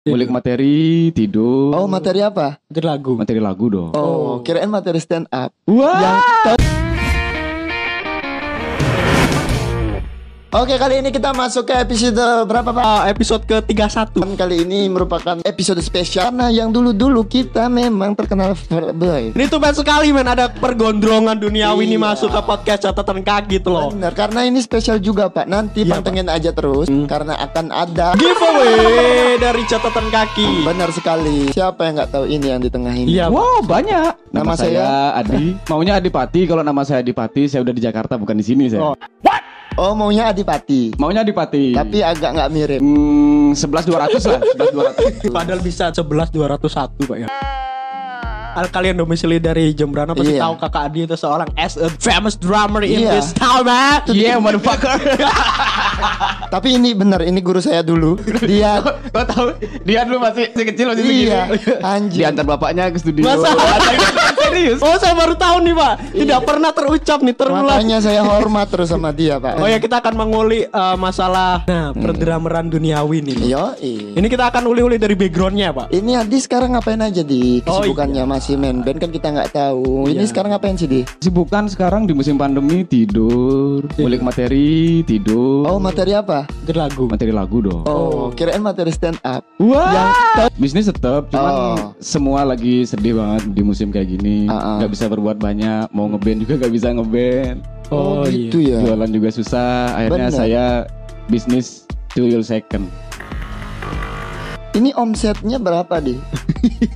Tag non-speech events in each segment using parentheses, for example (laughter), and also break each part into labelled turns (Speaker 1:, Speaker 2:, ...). Speaker 1: Iya.
Speaker 2: Ngulik materi, tidur.
Speaker 1: Oh materi apa?
Speaker 3: Itu lagu.
Speaker 2: materi lagu dong.
Speaker 1: Oh, kirain materi stand up.
Speaker 2: Wah.
Speaker 1: Oke kali ini kita masuk ke episode berapa pak?
Speaker 3: Ah, episode ke-31.
Speaker 1: Kali ini merupakan episode spesial Nah yang dulu-dulu kita memang terkenal Fireboy
Speaker 3: Ini tuh banyak sekali men ada pergondrongan duniawi ini
Speaker 1: Iya.
Speaker 3: masuk ke podcast catatan kaki tuh loh.
Speaker 1: Benar, karena ini spesial juga pak Nanti
Speaker 3: Oh. Iya,
Speaker 1: pantengin aja terus Karena akan ada
Speaker 3: Giveaway dari catatan kaki.
Speaker 1: Benar sekali Siapa yang nggak tahu ini yang di tengah ini?
Speaker 3: Iya.
Speaker 2: Wow banyak. Nama,
Speaker 1: Nama
Speaker 2: saya,
Speaker 1: (laughs)
Speaker 2: Adi. Maunya Adipati. Kalau nama saya Adipati, saya udah di Jakarta bukan di sini saya.
Speaker 3: Oh.
Speaker 1: Oh maunya Adipati
Speaker 2: Maunya Adipati.
Speaker 1: Tapi agak nggak mirip
Speaker 2: Iya. hmm, 11 200 lah, 11 200.
Speaker 3: Padahal bisa 11 201 Pak ya. Al kalian domisili dari Jembrana pasti
Speaker 1: Iya.
Speaker 3: tahu Kakak Adi itu seorang as a famous drummer in
Speaker 1: Iya.
Speaker 3: this town, man.
Speaker 2: yeah, motherfucker. (laughs)
Speaker 1: Tapi ini benar, ini guru saya dulu Dia
Speaker 2: Lo tahu dia dulu masih, masih kecil masih (laughs)
Speaker 1: Iya Anjir
Speaker 2: Diantar bapaknya ke studio. (laughs)
Speaker 3: Masa?
Speaker 2: Serius?
Speaker 3: Oh, saya baru tahu nih, Pak. Tidak pernah terucap nih terulang.
Speaker 1: Iya. Makanya saya hormat terus sama dia pak
Speaker 3: Oh ya, kita akan mengulik eh, masalah nah,
Speaker 1: Hmm.
Speaker 3: perdrameran duniawi nih.
Speaker 1: Iya. Yoi
Speaker 3: Ini kita akan uli-uli dari backgroundnya, Pak.
Speaker 1: Ini Adi sekarang ngapain aja di
Speaker 3: Oh, Iya.
Speaker 1: kesibukannya masih main band kan kita nggak tahu. Ini sekarang ngapain sih di?
Speaker 2: Sibukan sekarang di musim pandemi tidur, ngulik materi, tidur.
Speaker 1: Iya. Oh materi apa?
Speaker 3: Itu lagu.
Speaker 2: materi lagu dong.
Speaker 1: Oh, kirain materi stand up.
Speaker 2: Wah. Bisnis tetap, cuman
Speaker 1: Oh.
Speaker 2: semua lagi sedih banget di musim kayak gini.
Speaker 1: Ah, ah.
Speaker 2: Nggak bisa berbuat banyak, mau ngeband juga nggak bisa ngeband.
Speaker 1: Oh,
Speaker 3: iya.
Speaker 1: gitu ya.
Speaker 2: Jualan juga susah. Akhirnya
Speaker 1: Bener.
Speaker 2: saya bisnis tuyul second.
Speaker 1: Ini omsetnya berapa
Speaker 3: (laughs)
Speaker 1: di?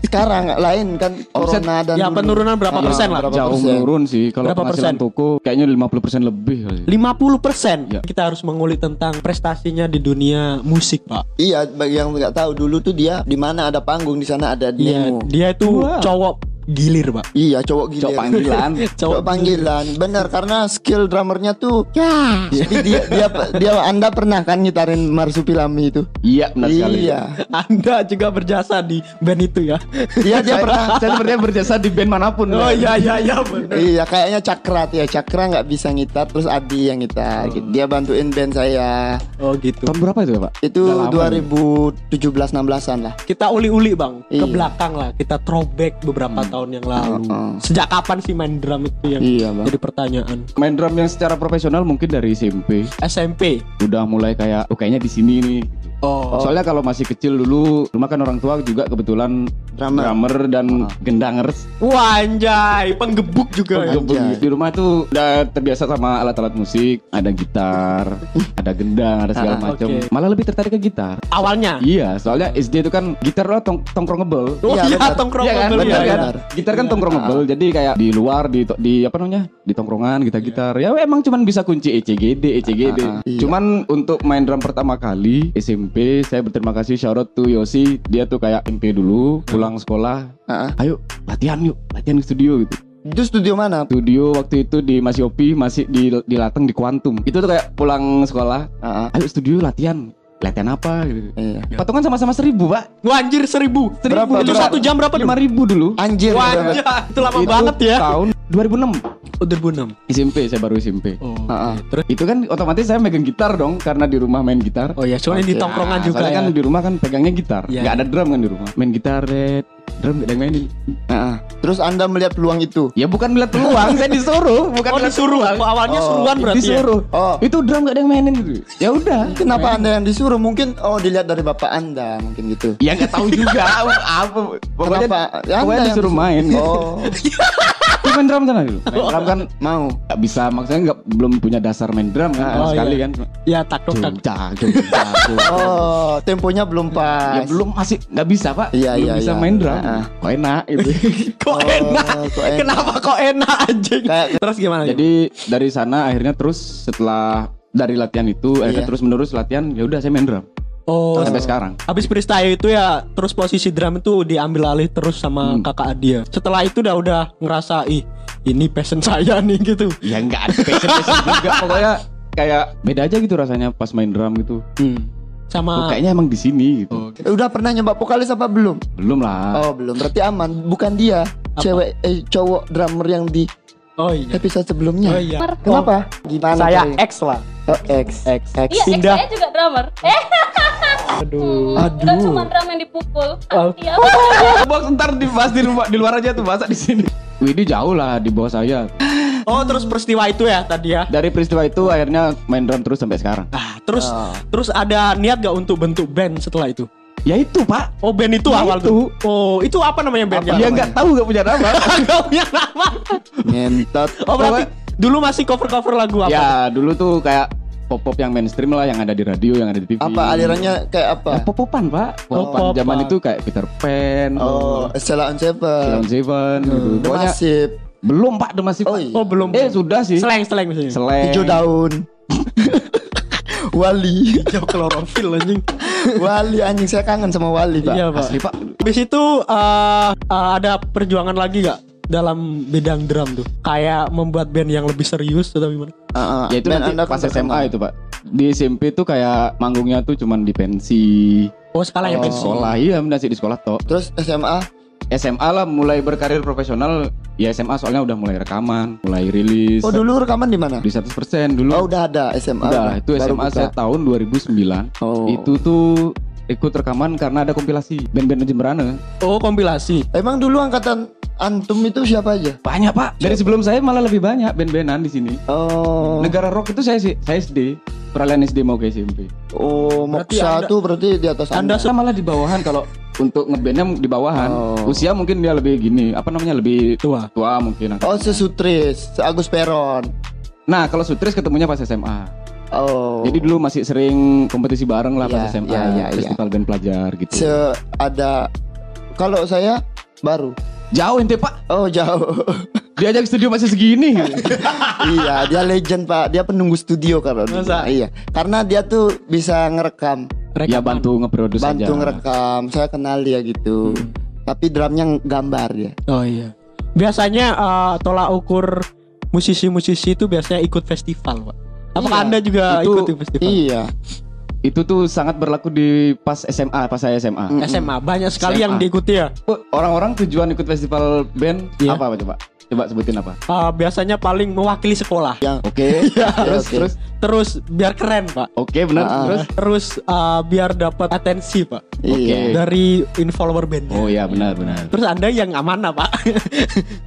Speaker 1: sekarang nggak lain kan
Speaker 2: Omset,
Speaker 1: corona dan
Speaker 3: ya, penurunan
Speaker 1: Iya,
Speaker 3: berapa persen lah?
Speaker 1: berapa
Speaker 2: Jauh
Speaker 1: persen?
Speaker 2: menurun sih kalau
Speaker 3: Berapa
Speaker 2: penghasilan
Speaker 3: persen?
Speaker 2: toko kayaknya 50% lebih kali.
Speaker 3: 50%
Speaker 2: Ya.
Speaker 3: kita harus mengulik tentang prestasinya di dunia musik pak
Speaker 1: Iya, bagi yang nggak tahu dulu tuh dia di mana ada panggung di sana ada
Speaker 3: Iya,
Speaker 1: demo.
Speaker 3: dia itu
Speaker 2: Wow.
Speaker 3: cowok gilir pak (laughs)
Speaker 1: Iya, cowok gila.
Speaker 2: Cok panggilan.
Speaker 1: (laughs) Cowok panggilan, benar karena skill drummernya tuh ya. Jadi dia, dia dia Anda pernah kan ngitarin Marsupilami itu?
Speaker 2: Iya, benar sekali.
Speaker 1: Iya.
Speaker 3: anda juga berjasa di band itu ya
Speaker 1: Dia Iya,
Speaker 2: (laughs)
Speaker 1: dia
Speaker 2: Saya-
Speaker 1: pernah
Speaker 2: saya sepertinya berjasa di band manapun. ya.
Speaker 3: oh
Speaker 2: Pak.
Speaker 3: iya iya iya bener
Speaker 1: Iya kayaknya Cakra tuh ya Cakra nggak bisa ngitar terus Adi yang ngitar
Speaker 2: Hmm.
Speaker 1: gitu. Dia bantuin band saya
Speaker 3: oh gitu
Speaker 2: Tahun berapa itu ya, Pak?
Speaker 1: itu
Speaker 2: Udah lama,
Speaker 1: 2017-16an lah
Speaker 3: kita uli-uli bang ke
Speaker 1: Iya.
Speaker 3: belakang lah kita throwback beberapa tahun yang lalu
Speaker 1: Heeh.
Speaker 3: sejak kapan sih main drum itu yang
Speaker 1: Iya, Bang.
Speaker 3: jadi pertanyaan
Speaker 2: Main drum yang secara profesional mungkin dari SMP.
Speaker 3: SMP
Speaker 2: Udah mulai kayak oh kayaknya di sini nih gitu.
Speaker 3: oh
Speaker 2: Soalnya kalau masih kecil dulu, rumah kan orang tua juga kebetulan drummer,
Speaker 1: Drummer.
Speaker 2: dan
Speaker 3: Ah.
Speaker 2: gendangers.
Speaker 3: wah anjay penggebuk juga ya.
Speaker 2: Gebung. Di rumah tuh udah terbiasa sama alat-alat musik, ada
Speaker 3: (laughs)
Speaker 2: gitar, ada gendang, ada segala
Speaker 1: Ah,
Speaker 2: macam.
Speaker 3: oke.
Speaker 2: Malah lebih tertarik ke gitar.
Speaker 3: awalnya
Speaker 2: Iya, soalnya SD itu kan gitar lo tong tongkrongebel.
Speaker 3: oh
Speaker 1: Iya,
Speaker 3: iya
Speaker 1: bener.
Speaker 3: tongkrong
Speaker 2: Iya kan,
Speaker 3: mobil,
Speaker 2: bener
Speaker 3: iya,
Speaker 2: kan?
Speaker 3: iya.
Speaker 1: bener.
Speaker 2: Gitar kan tongkrongebel, jadi kayak di luar di to- di apa namanya di tongkrongan kita gitar. Ya emang cuman bisa kunci ECGD, ECGD.
Speaker 1: Ah, ah, iya.
Speaker 2: Cuman untuk main drum pertama kali SMP, saya berterima kasih shout out to Yosi. Dia tuh kayak MP dulu, pulang sekolah,
Speaker 1: Heeh.
Speaker 2: ayo latihan yuk, latihan ke studio gitu.
Speaker 1: Itu studio mana?
Speaker 2: Studio waktu itu di Masiopi masih di di Lateng di Kuantum. Itu tuh kayak pulang sekolah,
Speaker 1: Heeh.
Speaker 2: ayo studio latihan. Latihan apa gitu.
Speaker 1: Iya.
Speaker 2: Potongan sama-sama seribu, Pak.
Speaker 3: Wah anjir seribu,
Speaker 1: Berapa,
Speaker 3: Itu
Speaker 1: berapa?
Speaker 3: satu jam berapa?
Speaker 2: Lima ribu dulu.
Speaker 1: Anjir
Speaker 3: Wah
Speaker 1: bener.
Speaker 3: anjir, itu lama
Speaker 2: Itu
Speaker 3: banget ya
Speaker 2: Tahun 2006.
Speaker 3: Oh 2006
Speaker 2: SMP saya baru SMP.
Speaker 3: Oh,
Speaker 1: Heeh.
Speaker 3: Terus
Speaker 2: Itu kan otomatis saya megang gitar dong karena di rumah main gitar.
Speaker 3: Oh ya, soalnya di tongkrongan
Speaker 2: Nah,
Speaker 3: juga
Speaker 2: soalnya
Speaker 3: ya.
Speaker 2: kan di rumah kan pegangnya gitar.
Speaker 3: Iya.
Speaker 2: Nggak ada drum kan di rumah. Main gitar, red. Drum gak ada yang mainin.
Speaker 1: Heeh. Terus Anda melihat peluang itu?
Speaker 2: Ya bukan melihat peluang, saya disuruh, bukan
Speaker 3: oh
Speaker 2: melihat
Speaker 3: disuruh.
Speaker 2: peluang.
Speaker 3: Oh, awalnya
Speaker 1: Oh,
Speaker 3: suruhan berarti.
Speaker 2: disuruh.
Speaker 1: ya? Oh.
Speaker 2: Itu drum gak ada yang mainin gitu. Ya udah.
Speaker 1: Kenapa Anda yang disuruh? Mungkin oh dilihat dari bapak Anda mungkin gitu.
Speaker 2: Ya nggak tahu juga apa. Pokoknya,
Speaker 1: Kenapa?
Speaker 2: pokoknya
Speaker 1: Ya, Anda yang
Speaker 2: disuruh (laughs) main.
Speaker 1: (laughs) Oh,
Speaker 2: Itu main drum sana dulu. Main drum kan
Speaker 1: mau.
Speaker 2: nggak bisa maksudnya nggak belum punya dasar main drum kan
Speaker 3: Oh,
Speaker 2: sama sekali
Speaker 3: iya.
Speaker 2: kan.
Speaker 3: Ya takdok tak.
Speaker 2: Jogja, Jogja, Jogja.
Speaker 1: Oh, temponya belum
Speaker 2: Ya
Speaker 1: pas.
Speaker 2: belum masih nggak bisa pak,
Speaker 1: Iya,
Speaker 2: belum
Speaker 1: iya,
Speaker 2: bisa
Speaker 1: iya.
Speaker 2: main gitu. drum.
Speaker 1: Ah, ah.
Speaker 2: Kok enak (laughs) itu.
Speaker 3: Kok enak?
Speaker 1: kok enak.
Speaker 3: Kenapa kok enak anjing?
Speaker 1: Kayak-
Speaker 3: Terus gimana?
Speaker 2: Jadi dari sana akhirnya terus setelah dari latihan itu akhirnya
Speaker 1: Iya.
Speaker 2: terus menerus latihan ya udah saya main drum
Speaker 3: oh,
Speaker 2: sampai sekarang.
Speaker 3: habis freestyle itu ya terus posisi drum itu diambil alih terus sama kakak Adia. Setelah itu udah udah ngerasa ih ini passion saya (laughs) nih gitu.
Speaker 2: Ya nggak ada passion passion (laughs) juga pokoknya kayak beda aja gitu rasanya pas main drum gitu. Oh,
Speaker 3: Sama
Speaker 2: kayaknya emang di sini gitu.
Speaker 3: Oh,
Speaker 1: Hmm. Udah pernah nyoba vokalis apa belum?
Speaker 2: Belum lah.
Speaker 1: Oh belum berarti aman bukan dia cewek eh, cowok drummer yang di
Speaker 3: Oh iya.
Speaker 1: episode
Speaker 3: Oh
Speaker 1: sebelumnya.
Speaker 3: iya.
Speaker 1: Kenapa? Gimana?
Speaker 4: Saya
Speaker 1: Coy?
Speaker 4: X lah.
Speaker 1: Oh, X.
Speaker 4: X.
Speaker 1: X.
Speaker 5: Iya, ex
Speaker 3: Pindah.
Speaker 5: saya juga drummer. (laughs) Eh,
Speaker 3: Aduh.
Speaker 5: bukan
Speaker 1: Aduh.
Speaker 5: cuma drum yang dipukul.
Speaker 4: Oh.
Speaker 5: Iya.
Speaker 2: Box ntar dibahas di rumah di luar aja tuh bahasa di sini. Widi jauh lah di bawah saya.
Speaker 3: Oh terus peristiwa itu ya tadi ya.
Speaker 2: Dari peristiwa itu akhirnya main drum terus sampai sekarang.
Speaker 3: Ah, terus terus ada niat gak untuk bentuk band setelah itu?
Speaker 2: Ya itu pak.
Speaker 3: Oh band itu
Speaker 2: Ya
Speaker 3: awal
Speaker 2: itu.
Speaker 3: tuh. Oh itu apa namanya bandnya? (laughs)
Speaker 2: Dia nggak tahu nggak punya nama.
Speaker 3: Gak punya nama.
Speaker 1: Ngentot.
Speaker 3: Oh berarti dulu masih cover cover lagu apa?
Speaker 2: ya dulu tuh kayak pop pop yang mainstream lah yang ada di radio yang ada di TV.
Speaker 1: Apa alirannya kayak apa?
Speaker 2: Ya, pop popan pak. Pop popan
Speaker 3: Pop-popan.
Speaker 2: zaman itu kayak Peter Pan.
Speaker 1: Oh, Stella on Seven.
Speaker 2: Down Seven gitu.
Speaker 1: The
Speaker 2: Pokoknya
Speaker 1: Massive.
Speaker 2: belum pak The Massive.
Speaker 1: Oh
Speaker 2: Pak.
Speaker 1: iya.
Speaker 3: Oh belum.
Speaker 2: Eh sudah sih.
Speaker 3: Seleng seleng misalnya.
Speaker 2: Slang.
Speaker 1: Hijau daun. (laughs) Wali.
Speaker 3: Jauh klorofil anjing.
Speaker 1: Wali anjing saya kangen sama Wali, Pak.
Speaker 3: Iya pak.
Speaker 2: Asli pak.
Speaker 3: Habis itu eh, eh, ada perjuangan lagi gak dalam bidang drum tuh? Kayak membuat band yang lebih serius atau gimana?
Speaker 1: Heeh.
Speaker 2: Ya itu
Speaker 1: Ah, Dan
Speaker 2: nanti
Speaker 1: Anda
Speaker 2: pas
Speaker 1: kan
Speaker 2: SMA
Speaker 1: terkenal.
Speaker 2: itu pak. Di SMP tuh kayak manggungnya tuh cuman di pensi.
Speaker 3: Oh skala yang
Speaker 1: Oh.
Speaker 3: pensi.
Speaker 2: Sekolah iya masih di sekolah toh.
Speaker 1: Terus SMA
Speaker 2: SMA lah mulai berkarir profesional ya SMA soalnya udah mulai rekaman, mulai rilis
Speaker 1: Oh, dulu rekaman di mana?
Speaker 2: di 100% dulu.
Speaker 1: Oh, udah ada SMA.
Speaker 2: udah, itu
Speaker 1: Baru
Speaker 2: SMA
Speaker 1: buka.
Speaker 2: saya tahun 2009.
Speaker 1: Oh.
Speaker 2: Itu tuh ikut rekaman karena ada kompilasi band-band Jemberana.
Speaker 3: Oh kompilasi.
Speaker 1: Emang dulu angkatan antum itu siapa aja?
Speaker 2: Banyak, Pak. Dari sebelum saya malah lebih banyak band-bandan di sini.
Speaker 1: Oh,
Speaker 2: Negara rock itu saya sih, saya SD, peralihan SD mau ke SMP.
Speaker 1: oh,
Speaker 3: Berarti
Speaker 1: Moksa
Speaker 3: Anda-
Speaker 1: tuh berarti di atas
Speaker 2: Anda saya malah di bawahan kalau untuk ngebandnya di bawahan.
Speaker 1: Oh.
Speaker 2: Usia mungkin dia lebih gini, apa namanya lebih
Speaker 3: Tua.
Speaker 2: tua mungkin.
Speaker 1: Oh, sesutris, se Agus Peron.
Speaker 2: Nah, kalau Sutris ketemunya pas SMA.
Speaker 1: Oh.
Speaker 2: Jadi dulu masih sering kompetisi bareng lah pas
Speaker 1: Iya,
Speaker 2: SMA,
Speaker 1: iya, iya,
Speaker 2: festival band pelajar gitu.
Speaker 1: se ada kalau saya baru.
Speaker 2: Jauh ente pak,
Speaker 1: Oh, jauh. (laughs)
Speaker 2: diajak ke studio masih segini.
Speaker 1: iya, dia legend, Pak. Dia penunggu studio kalau dulu.
Speaker 3: Masa?
Speaker 1: Iya, karena dia tuh bisa ngerekam,
Speaker 2: ya bantu ngeproduksi aja.
Speaker 1: bantu ngerekam. Saya kenal dia gitu. Tapi drumnya gambar dia.
Speaker 3: Oh iya. Biasanya eh, tolak ukur musisi-musisi itu biasanya ikut festival, Pak. Apakah
Speaker 1: Iya.
Speaker 3: Anda juga
Speaker 2: Itu-
Speaker 3: ikut di festival?
Speaker 1: Iya.
Speaker 2: Itu tuh sangat berlaku di pas SMA, pas saya
Speaker 1: Mm.
Speaker 2: SMA.
Speaker 3: SMA banyak sekali
Speaker 2: SMA.
Speaker 3: yang diikuti ya.
Speaker 2: Eh, Oh, Orang-orang tujuan ikut festival band
Speaker 3: Iya.
Speaker 2: apa Pak, coba? Coba sebutin apa?
Speaker 3: Eh, biasanya paling mewakili sekolah.
Speaker 1: Yang
Speaker 2: Oke.
Speaker 1: (laughs) Oke,
Speaker 2: terus
Speaker 1: oke.
Speaker 2: terus.
Speaker 3: Terus biar keren, Pak.
Speaker 2: Oke, benar.
Speaker 1: Ah, ah.
Speaker 2: terus.
Speaker 3: Terus eh, biar dapat atensi, Pak.
Speaker 1: Iya.
Speaker 2: Oke.
Speaker 3: Dari follower band.
Speaker 2: Oh iya benar benar.
Speaker 3: Terus Anda yang aman apa?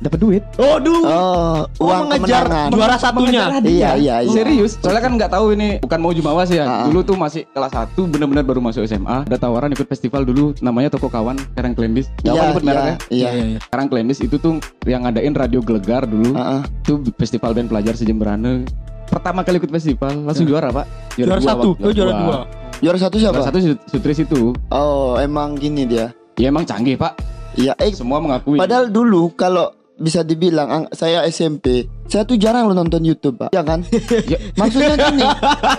Speaker 2: Dapat duit.
Speaker 3: oh, duh.
Speaker 1: Oh, uang
Speaker 3: mengejar
Speaker 1: kemenangan.
Speaker 3: juara satunya.
Speaker 1: Iya, iya, iya.
Speaker 2: Serius, soalnya kan nggak tahu ini bukan mau jumawas ya.
Speaker 1: Ah, ah.
Speaker 2: Dulu tuh masih kelas 1 benar-benar baru masuk SMA. Ada tawaran ikut festival dulu namanya Toko Kawan, sekarang Klendis.
Speaker 1: Iya,
Speaker 2: Kawan ikut
Speaker 1: iya,
Speaker 2: merek ya.
Speaker 1: iya.
Speaker 2: Sekarang Klendis itu tuh yang ngadain radio gelegar dulu.
Speaker 1: Heeh.
Speaker 2: Itu festival band pelajar sejemberane. Pertama kali ikut festival
Speaker 1: Ya.
Speaker 2: langsung juara, Pak.
Speaker 3: Juara,
Speaker 2: dua,
Speaker 3: satu,
Speaker 2: Pak.
Speaker 3: oh juara dua.
Speaker 1: Juara satu
Speaker 2: Juara
Speaker 1: siapa?
Speaker 2: satu Sut- Sutris itu.
Speaker 1: Oh, emang gini dia.
Speaker 2: Ya emang canggih, Pak.
Speaker 1: Iya, eh
Speaker 2: Semua mengakui.
Speaker 1: Padahal dulu kalau bisa dibilang ang- saya SMP, saya tuh jarang lo nonton YouTube, Pak. Ya
Speaker 2: (laughs)
Speaker 1: kan? (laughs)
Speaker 2: Ya.
Speaker 1: Maksudnya gini,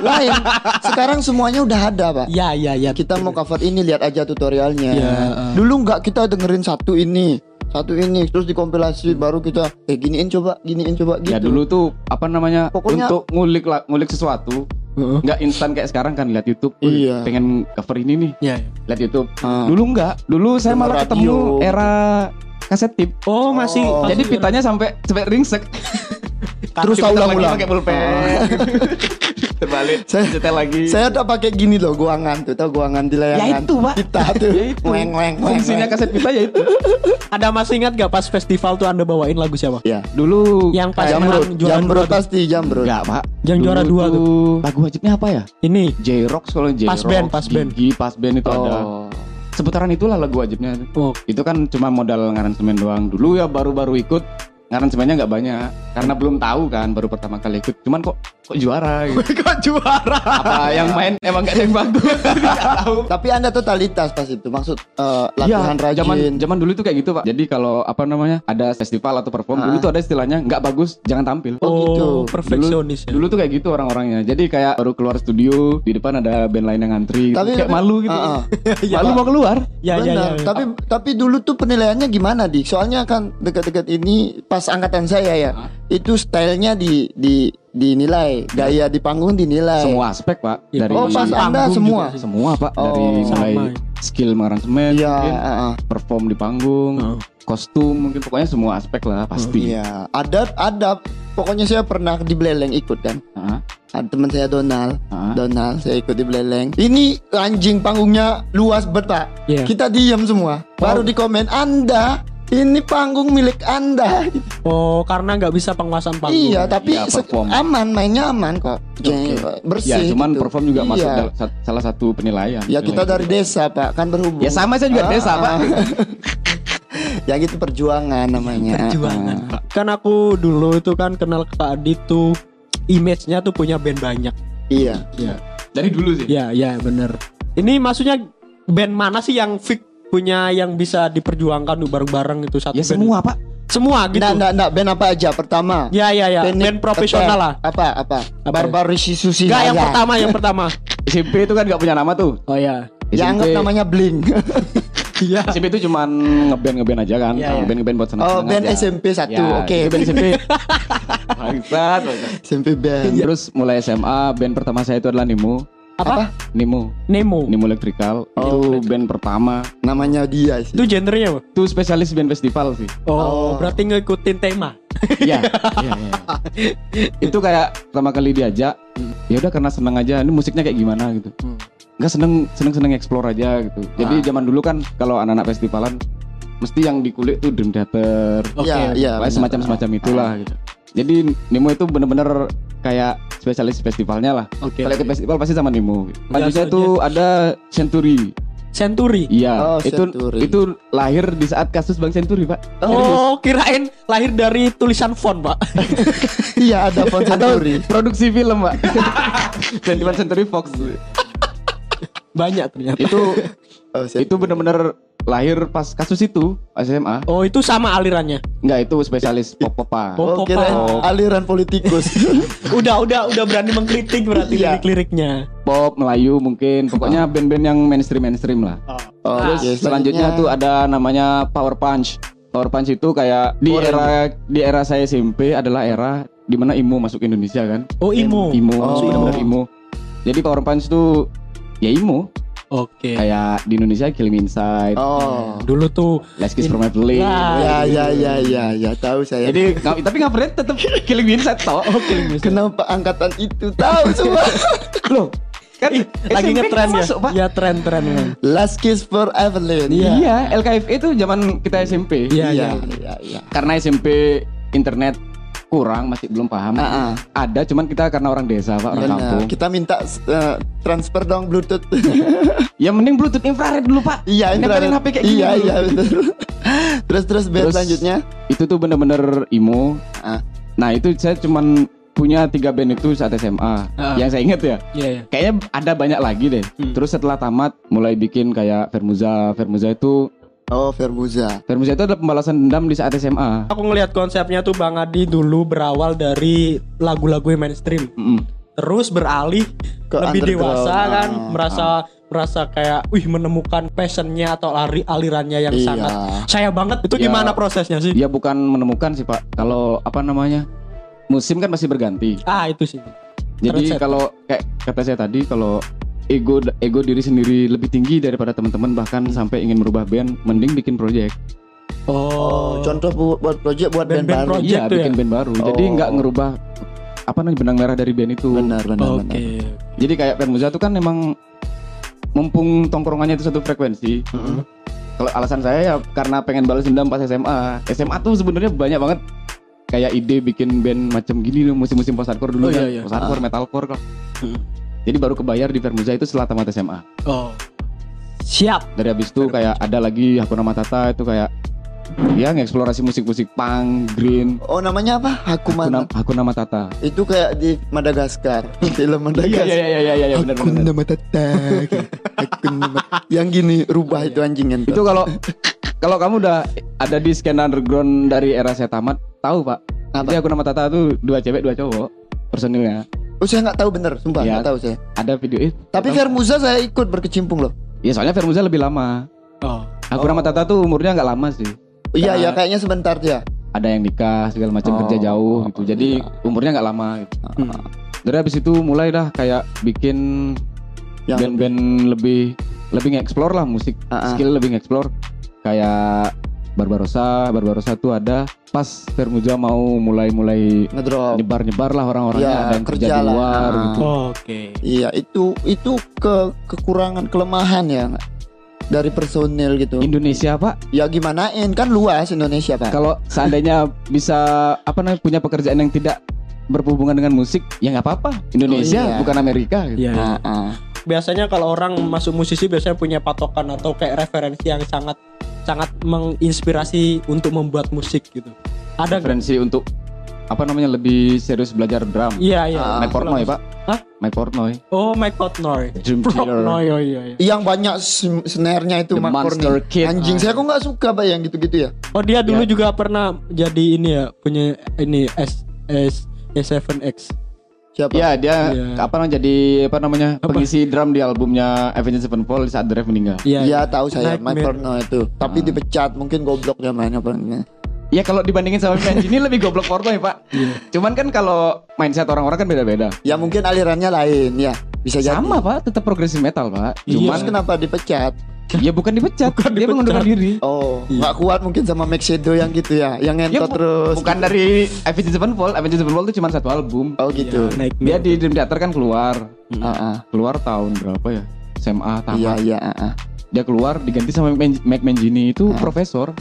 Speaker 1: lain. Sekarang semuanya udah ada, Pak.
Speaker 3: Ya, ya,
Speaker 2: Iya.
Speaker 3: ya.
Speaker 1: Kita mau cover ini lihat aja tutorialnya.
Speaker 3: Ya, eh.
Speaker 1: Dulu nggak kita dengerin satu ini, satu ini, terus dikompilasi baru kita eh giniin coba, giniin coba gitu.
Speaker 2: Ya dulu tuh apa namanya
Speaker 1: Pokoknya-
Speaker 2: untuk ngulik la- ngulik sesuatu
Speaker 3: Heeh.
Speaker 2: nggak instan kayak sekarang kan lihat YouTube. Wih,
Speaker 1: Iya.
Speaker 2: Pengen cover ini nih.
Speaker 3: Ya, ya.
Speaker 2: lihat YouTube.
Speaker 1: Ah.
Speaker 2: Dulu enggak, dulu saya
Speaker 1: Dulu
Speaker 2: malah
Speaker 1: radio.
Speaker 2: ketemu era kaset tip.
Speaker 3: Oh, masih
Speaker 1: Oh.
Speaker 2: Jadi pitanya sampai sampai ringsek.
Speaker 1: Terus
Speaker 2: Diputar
Speaker 1: ulang-
Speaker 2: lagi
Speaker 1: ulang. Oh.
Speaker 2: pakai pulpen. (laughs) Terbalik,
Speaker 1: Saya-
Speaker 2: cetel lagi.
Speaker 1: Saya udah pakai gini loh, guangan tuh, tau guangan di
Speaker 2: ya
Speaker 1: layangan.
Speaker 2: itu, Pak.
Speaker 1: Kita tuh.
Speaker 2: (laughs) Ya itu.
Speaker 1: Weng, weng, weng,
Speaker 2: Fungsinya
Speaker 1: weng.
Speaker 2: kaset pita ya itu.
Speaker 3: Anda masih ingat gak pas festival tuh Anda bawain lagu siapa?
Speaker 1: Ya.
Speaker 2: Dulu
Speaker 3: Yang pas
Speaker 1: Jamrut,
Speaker 3: menang juara
Speaker 1: jamrut
Speaker 3: dua tuh.
Speaker 1: pasti jamrut.
Speaker 2: enggak, Pak.
Speaker 3: Yang
Speaker 2: Dulu
Speaker 3: juara dua tuh.
Speaker 2: Lagu wajibnya apa ya?
Speaker 3: Ini.
Speaker 2: J-Rock kalau J-Rock.
Speaker 3: Pas band, pas band.
Speaker 2: Gigi, pas band itu ada.
Speaker 1: Oh.
Speaker 2: Seputaran itulah lagu wajibnya.
Speaker 3: Oh,
Speaker 2: Itu kan cuma modal ngaransemen doang. Dulu ya baru-baru ikut ngaransemennya nggak banyak karena belum tahu kan baru pertama kali ikut. Cuman kok (laughs) kok juara
Speaker 3: (laughs)
Speaker 2: gitu.
Speaker 3: kok juara?
Speaker 2: apa yang main emang gak ada yang bagus (laughs) Nggak tahu
Speaker 1: Tapi Anda totalitas pas itu. Maksud eh,
Speaker 2: Iya,
Speaker 1: latihan rajin.
Speaker 2: zaman zaman dulu itu kayak gitu pak jadi kalau apa namanya ada festival atau perform dulu
Speaker 1: Ah.
Speaker 2: tuh ada istilahnya nggak bagus jangan tampil
Speaker 1: Oh, gitu.
Speaker 3: Oh, perfeksionis ya.
Speaker 2: dulu tuh kayak gitu orang-orangnya jadi kayak baru keluar studio di depan ada band lain yang ngantri gitu.
Speaker 1: Tapi-
Speaker 2: kayak
Speaker 1: tapi-
Speaker 2: malu gitu (laughs)
Speaker 1: Ah, ah.
Speaker 2: malu mau keluar iya,
Speaker 3: Ya, ya, ya.
Speaker 1: Benar.
Speaker 3: ya.
Speaker 1: Tapi tapi dulu tuh penilaiannya gimana, Dik? Soalnya kan dekat-dekat ini pas angkatan saya ya. Itu stylenya di di dinilai, gaya di panggung dinilai.
Speaker 2: Iya. semua aspek pak
Speaker 3: Iya,
Speaker 2: dari
Speaker 1: Eh. Oh, pas
Speaker 3: Panggung
Speaker 1: Anda
Speaker 3: juga
Speaker 1: semua.
Speaker 3: sih.
Speaker 2: semua pak dari
Speaker 1: Oh.
Speaker 2: mulai
Speaker 3: Sama.
Speaker 2: skill mengaransemen,
Speaker 1: Iya,
Speaker 2: mungkin
Speaker 1: heeh.
Speaker 2: perform di panggung,
Speaker 3: Heeh.
Speaker 2: kostum, mungkin pokoknya semua aspek lah pasti.
Speaker 1: iya. Adab, adab. Pokoknya saya pernah di Beleleng ikut kan.
Speaker 2: Heeh,
Speaker 1: Ada teman saya Donald,
Speaker 2: heeh.
Speaker 1: Donald saya ikut di Beleleng. Ini anjing panggungnya luas bertak.
Speaker 3: Iya.
Speaker 1: Kita diam semua. Baru di komen Anda, ini panggung milik Anda.
Speaker 3: Oh, karena nggak bisa penguasaan panggung.
Speaker 1: Iya, tapi
Speaker 2: Iya,
Speaker 1: se-
Speaker 2: perform.
Speaker 1: aman mainnya aman kok. Kayak
Speaker 2: Ya,
Speaker 1: bersih.
Speaker 2: cuman
Speaker 1: gitu.
Speaker 2: perform juga masuk
Speaker 1: Iya.
Speaker 2: dalam sa- salah satu penilaian.
Speaker 1: Ya kita
Speaker 2: Penilaian.
Speaker 1: dari desa pak kan berhubung.
Speaker 2: Ya sama saya juga
Speaker 1: Ah,
Speaker 2: desa,
Speaker 1: ah.
Speaker 2: Pak.
Speaker 1: ya gitu perjuangan namanya. Ah,
Speaker 3: Perjuangan, Pak. Kan aku dulu itu kan kenal Pak Adi tuh image-nya tuh punya band banyak.
Speaker 1: Ah, iya.
Speaker 2: Dari dulu sih.
Speaker 3: Ya, ya bener. Ini maksudnya band mana sih yang fix punya yang bisa diperjuangkan tuh bareng-bareng itu satu
Speaker 2: Ya
Speaker 3: band?
Speaker 2: semua, Pak.
Speaker 3: Semua gitu.
Speaker 1: Nah, nah, nah, band apa aja pertama?
Speaker 2: Iya,
Speaker 3: Ya, ya, ya.
Speaker 1: Teknik Iya,
Speaker 3: Band profesional
Speaker 1: ketel.
Speaker 3: lah.
Speaker 1: Apa apa?
Speaker 3: Apa?
Speaker 1: Barbar Rishi Susi.
Speaker 3: Enggak yang
Speaker 1: Naya.
Speaker 3: pertama, yang pertama.
Speaker 2: SMP itu kan gak punya nama tuh.
Speaker 3: Oh ya.
Speaker 1: Yang anggap
Speaker 2: SMP
Speaker 1: namanya Blink. (laughs)
Speaker 3: Iya.
Speaker 2: SMP itu cuman ngeband ngeband aja kan,
Speaker 3: Iya, iya.
Speaker 2: ngeband ngeband buat senang-senang
Speaker 1: oh, band
Speaker 2: aja.
Speaker 1: SMP satu.
Speaker 2: Ya,
Speaker 1: Oke.
Speaker 2: itu band
Speaker 1: (laughs)
Speaker 2: SMP. Bangsat. bangsat.
Speaker 1: SMP
Speaker 2: (laughs)
Speaker 1: band. Iya,
Speaker 2: Terus mulai SMA band pertama saya itu adalah Nemo,
Speaker 3: Apa?
Speaker 2: Nemo,
Speaker 3: Nemo.
Speaker 2: Nemo Electrical. Itu band pertama.
Speaker 1: Namanya dia sih.
Speaker 3: Itu genrenya apa?
Speaker 2: Itu spesialis band festival sih.
Speaker 3: Oh, berarti ngikutin tema.
Speaker 2: Iya. iya, iya. Itu kayak pertama kali diajak, ya udah karena seneng aja. Ini musiknya kayak gimana gitu. Enggak seneng seneng seneng explore aja gitu. Jadi zaman dulu kan kalau anak-anak festivalan mesti yang dikulik tuh drum theater,
Speaker 3: Oke.
Speaker 1: Iya, iya.
Speaker 2: Pokoknya
Speaker 1: benar.
Speaker 2: semacam semacam itulah gitu. Jadi Nemo itu bener-bener kayak spesialis festivalnya lah.
Speaker 3: Oke.
Speaker 2: Kalau ikut festival pasti sama Nemo. Lanjutnya
Speaker 3: Langsung
Speaker 2: itu ada Century.
Speaker 3: Century.
Speaker 2: Iya,
Speaker 1: Oh,
Speaker 2: itu
Speaker 1: Century.
Speaker 2: itu lahir di saat kasus Bang Century, Pak.
Speaker 3: Oh, kirain lahir dari tulisan font, Pak. (laughs)
Speaker 1: Iya ada Fon
Speaker 2: Atau
Speaker 1: Century.
Speaker 2: produksi film, (laughs) Pak. Century Century Fox.
Speaker 3: Banyak ternyata.
Speaker 2: itu
Speaker 1: Oh,
Speaker 2: itu bener-bener lahir pas kasus itu SMA.
Speaker 3: Oh, itu sama alirannya.
Speaker 2: Enggak, itu spesialis pop-pop, Pak.
Speaker 1: Oh,
Speaker 3: Oh,
Speaker 1: kirain
Speaker 3: Popeye.
Speaker 1: aliran
Speaker 2: (laughs)
Speaker 1: politikus.
Speaker 2: Nah,
Speaker 3: Udah, udah, udah berani mengkritik berarti
Speaker 1: Iya.
Speaker 3: lirik-liriknya.
Speaker 2: Pop Melayu mungkin, pokoknya band-band yang mainstream-mainstream lah.
Speaker 1: oh,
Speaker 2: Terus
Speaker 1: oke,
Speaker 2: selanjutnya tuh ada namanya Power Punch. Power Punch itu kayak di
Speaker 1: Power
Speaker 2: era di era saya SMP adalah era dimana IMU masuk Indonesia kan.
Speaker 3: Oh, Imo.
Speaker 2: IMU
Speaker 1: Oh.
Speaker 2: masuk benar-benar IMU. Jadi Power Punch tuh ya IMU
Speaker 3: Oke.
Speaker 2: kayak di Indonesia Kill Me Inside,
Speaker 1: Oh.
Speaker 3: Dulu tuh
Speaker 2: Let's Kiss From Heavenly.
Speaker 3: Ya.
Speaker 1: Ya ya ya ya ya tahu saya.
Speaker 2: Jadi nga- tapi ngapain tetap Kill Me Inside toh.
Speaker 3: Oh, Killing Me Inside.
Speaker 1: kenapa angkatan itu tahu
Speaker 2: (laughs)
Speaker 1: semua?
Speaker 2: Loh, kan
Speaker 3: Ih, lagi
Speaker 2: SMP
Speaker 3: ngetren ya.
Speaker 2: masuk, Pak.
Speaker 3: Ya tren-tren memang.
Speaker 1: Last kiss for Evelyn.
Speaker 2: Iya, LKFE itu zaman kita SMP.
Speaker 1: Iya
Speaker 3: Iya, iya.
Speaker 1: iya iya.
Speaker 2: Karena SMP internet kurang masih belum paham.
Speaker 1: Ah, ah.
Speaker 2: Ada cuman kita karena orang desa, Pak, orang
Speaker 1: Benar.
Speaker 2: kampung.
Speaker 1: Kita minta eh, transfer dong Bluetooth. (laughs)
Speaker 2: Ya mending Bluetooth infrared dulu pak.
Speaker 1: iya,
Speaker 2: Nempelin
Speaker 1: internet.
Speaker 2: HP kayak gini
Speaker 1: Iya,
Speaker 2: dulu.
Speaker 1: iya benar.
Speaker 2: (laughs)
Speaker 1: terus terus band
Speaker 2: Terus-
Speaker 1: selanjutnya.
Speaker 2: Itu tuh bener-bener emo.
Speaker 1: Ah.
Speaker 2: Nah itu saya cuman punya tiga band itu saat SMA.
Speaker 3: Ah.
Speaker 2: Yang saya ingat ya.
Speaker 3: Iya, iya.
Speaker 2: Kayaknya ada banyak lagi deh.
Speaker 3: Hmm.
Speaker 2: Terus setelah tamat mulai bikin kayak Vermuza. Vermuza itu
Speaker 1: Oh, Verbuza.
Speaker 2: Vermuza itu adalah pembalasan dendam di saat SMA.
Speaker 3: Aku ngelihat konsepnya tuh Bang Adi dulu berawal dari lagu-lagu yang mainstream.
Speaker 2: Mm-mm.
Speaker 3: Terus beralih
Speaker 1: Ke
Speaker 3: lebih
Speaker 1: underground.
Speaker 3: dewasa kan,
Speaker 1: Ah,
Speaker 3: merasa merasa kayak wih menemukan passionnya atau lari alirannya yang
Speaker 1: Iya.
Speaker 3: sangat saya banget. Itu
Speaker 2: Ya.
Speaker 3: gimana prosesnya sih?
Speaker 2: Dia bukan menemukan sih pak. Kalau apa namanya musim kan masih berganti.
Speaker 3: Ah, itu sih.
Speaker 2: Jadi
Speaker 3: Terus-
Speaker 2: kalau kayak kata saya tadi kalau ego ego diri sendiri lebih tinggi daripada teman-teman bahkan sampai ingin merubah band mending bikin proyek
Speaker 1: Oh, contoh bu- buat project buat band,
Speaker 3: Band-band
Speaker 1: baru.
Speaker 3: project.
Speaker 2: Iya
Speaker 3: tuh ya?
Speaker 2: bikin band baru. Jadi
Speaker 1: Oh.
Speaker 2: nggak ngerubah apa namanya benang merah dari band itu. Oh,
Speaker 1: Benar, benar,
Speaker 3: Oke.
Speaker 1: benar.
Speaker 2: Jadi kayak band Muza itu kan emang mumpung tongkrongannya itu satu frekuensi. Kalau alasan saya ya karena pengen balas dendam pas SMA. SMA tuh sebenarnya banyak banget kayak ide bikin band macam gini loh musim-musim post hardcore dulu
Speaker 3: Oh,
Speaker 2: kan.
Speaker 3: iya, iya.
Speaker 2: Post hardcore, metalcore kok. Mm-hmm. Jadi baru kebayar di Vermuza itu setelah tamat SMA.
Speaker 3: Oh. Siap.
Speaker 2: Dari habis itu kayak ada lagi Hakuna Matata itu kayak ya ngeksplorasi musik-musik punk, green,
Speaker 1: Oh, namanya apa?
Speaker 2: Hakuna,
Speaker 1: Hakuman.
Speaker 2: Hakuna Matata.
Speaker 1: Itu kayak di Madagaskar, film
Speaker 2: (laughs) Iya
Speaker 1: Madagaskar.
Speaker 2: iya iya iya iya benar benar.
Speaker 1: Hakuna Matata. Hakuna Matata. Yang gini rubah itu anjingnya.
Speaker 2: Oh, iya. Itu kalau kalau kamu udah ada di skena underground dari era saya tamat, tahu Pak.
Speaker 1: Apa?
Speaker 2: Jadi aku nama Tata tuh dua cewek dua cowok personilnya.
Speaker 1: Oh, saya nggak tahu bener, sumpah
Speaker 2: Iya.
Speaker 1: nggak tahu saya.
Speaker 2: Ada video eh,
Speaker 1: Tapi
Speaker 2: tahu.
Speaker 1: Vermuza saya ikut berkecimpung loh.
Speaker 2: ya soalnya Vermuza lebih lama.
Speaker 3: Oh.
Speaker 2: Aku nama Tata tuh umurnya nggak lama sih.
Speaker 1: Iya,
Speaker 2: Nah.
Speaker 1: ya kayaknya sebentar dia.
Speaker 2: Ada yang nikah segala macam
Speaker 1: Oh,
Speaker 2: kerja jauh gitu. Jadi umurnya nggak lama. Gitu.
Speaker 3: Hmm.
Speaker 2: Dari habis itu mulai dah kayak bikin
Speaker 1: Yang
Speaker 2: band-band lebih lebih nge-explore lah musik
Speaker 1: Ah, ah.
Speaker 2: skill lebih nge-explore kayak Barbarossa Barbarossa tuh ada pas Vermuja mau mulai-mulai
Speaker 1: ngedrop.
Speaker 2: nyebar-nyebar lah orang-orangnya
Speaker 1: Oh. Ya,
Speaker 2: ada yang kerja,
Speaker 1: kerja
Speaker 2: di
Speaker 1: lah.
Speaker 2: luar
Speaker 1: Ah.
Speaker 2: gitu
Speaker 3: Oke.
Speaker 1: Iya, itu itu ke kekurangan kelemahan ya nggak? dari personil gitu.
Speaker 2: Indonesia pak
Speaker 1: Ya gimanain kan luas Indonesia Pak.
Speaker 2: kalau seandainya bisa apa namanya punya pekerjaan yang tidak berhubungan dengan musik ya nggak apa-apa Indonesia
Speaker 1: Oh, iya.
Speaker 2: bukan Amerika gitu.
Speaker 1: Ah,
Speaker 3: Iya.
Speaker 1: ah.
Speaker 3: Biasanya kalau orang masuk musisi biasanya punya patokan atau kayak referensi yang sangat sangat menginspirasi untuk membuat musik gitu. Ada nggak?
Speaker 2: referensi untuk apa namanya lebih serius belajar drum
Speaker 3: Iya iya.
Speaker 1: Ah,
Speaker 2: Mike Portnoy pak
Speaker 3: Hah?
Speaker 2: Mike Portnoy
Speaker 3: Oh Mike Portnoy.
Speaker 2: Dream Theater
Speaker 3: Portnoy oh iya iya.
Speaker 1: Yang banyak sn- snare-nya itu
Speaker 2: The
Speaker 1: Mark
Speaker 2: Monster
Speaker 1: Cornell.
Speaker 2: Kid. ah.
Speaker 1: Anjing saya kok nggak suka Pak yang gitu-gitu ya.
Speaker 3: Oh dia dulu juga pernah jadi ini ya punya ini S S S7X.
Speaker 1: Siapa?
Speaker 2: Iya dia
Speaker 3: Iya.
Speaker 2: apa namanya jadi apa namanya pengisi drum di albumnya Avenged Sevenfold di saat Drive meninggal.
Speaker 3: Iya.
Speaker 1: Iya tahu saya Mike
Speaker 3: Nightmare. Ah.
Speaker 1: Portnoy itu. Tapi dipecat mungkin goblok dia main apa enggak.
Speaker 2: Iya kalau dibandingin sama Benji ini lebih goblok Portnoy pak. Cuman kan kalau mindset orang-orang kan beda-beda.
Speaker 1: Ya mungkin alirannya lain ya. Bisa jadi.
Speaker 2: Sama pak, tetap progresif metal pak.
Speaker 3: Iya.
Speaker 1: Cuman
Speaker 2: Cuman
Speaker 1: kenapa dipecat?
Speaker 2: ya bukan dipecat,
Speaker 3: Bukan
Speaker 2: dia
Speaker 3: dipecat.
Speaker 2: mengundurkan diri.
Speaker 1: Oh,
Speaker 3: Iya.
Speaker 1: nggak kuat mungkin sama Max Shadow yang gitu ya, yang
Speaker 2: Dia
Speaker 1: ngentot
Speaker 2: bu-
Speaker 1: terus.
Speaker 2: bukan dari Avenged Sevenfold, Avenged Sevenfold itu cuma satu album.
Speaker 1: Oh gitu.
Speaker 3: Iya, Nightmare.
Speaker 2: Dia di Dream Theater kan keluar,
Speaker 1: Ah, ah.
Speaker 2: keluar tahun berapa ya? SMA tamat.
Speaker 1: Iya iya. ah, ah.
Speaker 2: Dia keluar diganti sama Mac Mac Mangini itu profesor,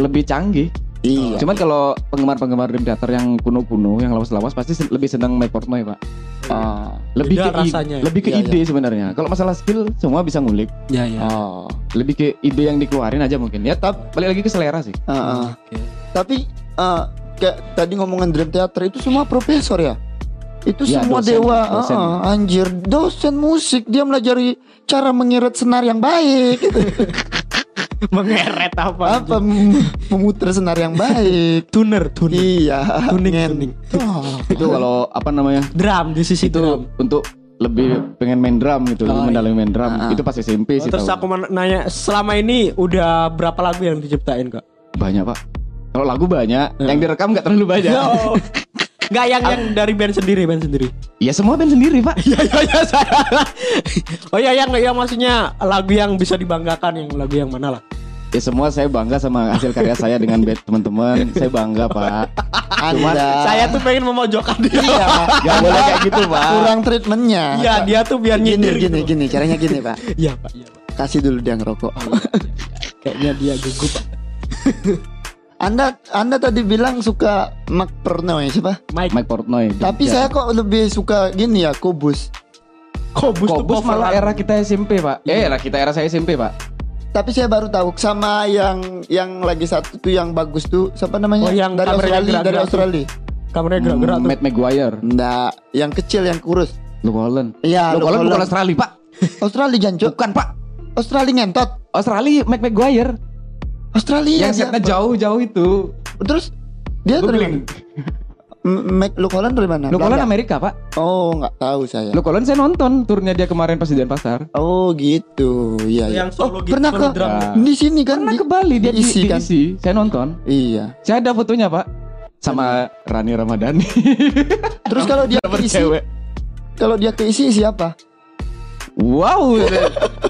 Speaker 2: lebih canggih.
Speaker 1: Iya.
Speaker 2: Cuman kalau penggemar-penggemar Dream Theater yang kuno-kuno, yang lawas-lawas pasti sen- lebih senang Mike Portnoy, Pak.
Speaker 1: Ah,
Speaker 2: Lebih
Speaker 3: Iya. Beda
Speaker 2: ke i-
Speaker 3: rasanya.
Speaker 2: lebih ke
Speaker 1: Iya,
Speaker 2: ide sebenarnya. Kalau masalah skill semua bisa ngulik. Ah,
Speaker 3: Iya iya.
Speaker 1: Oh.
Speaker 2: Lebih ke ide yang dikeluarin aja mungkin. Ya, tapi balik lagi ke selera sih.
Speaker 1: Ah, ah.
Speaker 3: Oke.
Speaker 1: Tapi eh, kayak tadi ngomongan Dream Theater itu semua profesor ya. Itu
Speaker 2: Iya,
Speaker 1: semua
Speaker 2: dosen,
Speaker 1: dewa,
Speaker 2: dosen.
Speaker 1: Ah, ah, anjir, dosen musik dia melajari cara mengirit senar yang baik (laughs) gitu.
Speaker 3: Mengeret apa?
Speaker 1: Apa mem- memutar senar yang baik.
Speaker 3: Tuner, tuner.
Speaker 1: iya.
Speaker 3: Tuning,
Speaker 1: ngen-
Speaker 3: tuning.
Speaker 1: Oh.
Speaker 2: Itu
Speaker 3: Iya.
Speaker 2: kalau apa namanya?
Speaker 3: Drum di sisi
Speaker 2: itu
Speaker 3: drum.
Speaker 2: untuk lebih pengen main drum gitu,
Speaker 3: Oh,
Speaker 2: lebih mendalami main drum.
Speaker 1: Ah, ah.
Speaker 2: Itu pas SMP
Speaker 3: Oh,
Speaker 2: sih.
Speaker 3: terus
Speaker 2: tahu.
Speaker 3: aku mau nanya, selama ini udah berapa lagu yang diciptain kak?
Speaker 2: banyak, Pak. Kalau lagu banyak,
Speaker 3: Iya.
Speaker 2: yang direkam nggak terlalu banyak.
Speaker 1: Ya.
Speaker 3: No. Nggak yang yang
Speaker 1: Ah.
Speaker 3: dari band sendiri, band
Speaker 1: (laughs)
Speaker 3: sendiri.
Speaker 2: Ya semua band sendiri, Pak.
Speaker 1: Ya,
Speaker 3: Iya iya iya salah. Oh iya yang yang maksudnya lagu yang bisa dibanggakan yang lagu yang mana lah?
Speaker 2: Ya semua saya bangga sama hasil karya saya dengan band teman-teman. Saya bangga, Pak. Cuman
Speaker 1: Anda.
Speaker 3: Saya tuh pengen memojokkan dia.
Speaker 1: Iya, Pak.
Speaker 2: nggak boleh kayak gitu, Pak.
Speaker 1: kurang treatmentnya.
Speaker 3: Iya dia tuh biar
Speaker 1: gini
Speaker 3: nyindir
Speaker 1: gini
Speaker 3: gitu.
Speaker 1: gini caranya gini pak
Speaker 3: Iya pak, iya pak.
Speaker 1: kasih dulu dia ngerokok
Speaker 2: Oh, iya.
Speaker 1: (laughs)
Speaker 3: Kayaknya dia gugup.
Speaker 1: anda anda tadi bilang suka McPernoy siapa
Speaker 3: Mike
Speaker 2: Mike Portnoy. Ya.
Speaker 1: tapi saya kok lebih suka gini ya Kobus
Speaker 3: Kobus, tuh
Speaker 2: Kobus malah
Speaker 3: coveran.
Speaker 2: era kita SMP, Pak. Eh, era kita era saya SMP, Pak.
Speaker 1: tapi saya baru tahu sama yang yang lagi satu tuh yang bagus tuh siapa namanya
Speaker 3: Oh, yang
Speaker 1: dari
Speaker 3: kameranya
Speaker 1: Australia dari
Speaker 3: gerak-gerak tuh.
Speaker 1: Australia
Speaker 3: Kameranya gerak-gerak
Speaker 2: Hmm,
Speaker 3: tuh.
Speaker 2: Matt Maguire,
Speaker 1: Nggak, yang kecil yang
Speaker 2: (laughs)
Speaker 1: kurus
Speaker 2: Luke Holland.
Speaker 1: Iya,
Speaker 2: Luke
Speaker 1: Luke
Speaker 2: Holland bukan
Speaker 1: Holland.
Speaker 2: Australia, Pak.
Speaker 1: Australia jancuk
Speaker 2: Bukan, Pak.
Speaker 1: Australia ngentot
Speaker 2: Australia Matt Maguire
Speaker 1: Australia
Speaker 2: yang
Speaker 1: dia.
Speaker 2: setnya jauh-jauh itu.
Speaker 1: terus dia
Speaker 2: Googling.
Speaker 1: dari M- Mac Luke Holland dari mana
Speaker 2: Luke Holland
Speaker 1: Belanda?
Speaker 2: Amerika, Pak.
Speaker 1: oh nggak tahu saya
Speaker 2: Luke Holland saya nonton turnya dia kemarin pas di Denpasar.
Speaker 1: Oh gitu, iya iya.
Speaker 3: Yang solo
Speaker 1: oh,
Speaker 3: gitu,
Speaker 1: pernah
Speaker 3: solo
Speaker 1: ke
Speaker 3: drum.
Speaker 1: di sini kan?
Speaker 2: Pernah
Speaker 1: di-
Speaker 2: ke Bali dia
Speaker 1: diisi
Speaker 2: diisi,
Speaker 1: kan?
Speaker 2: diisi. Saya nonton.
Speaker 1: Iya.
Speaker 2: Saya ada fotonya, Pak. Sama Rani (laughs) Ramadhani.
Speaker 1: Terus kalau dia
Speaker 2: Sama
Speaker 1: keisi,
Speaker 2: cewek.
Speaker 1: kalau dia keisi siapa?
Speaker 2: Wow,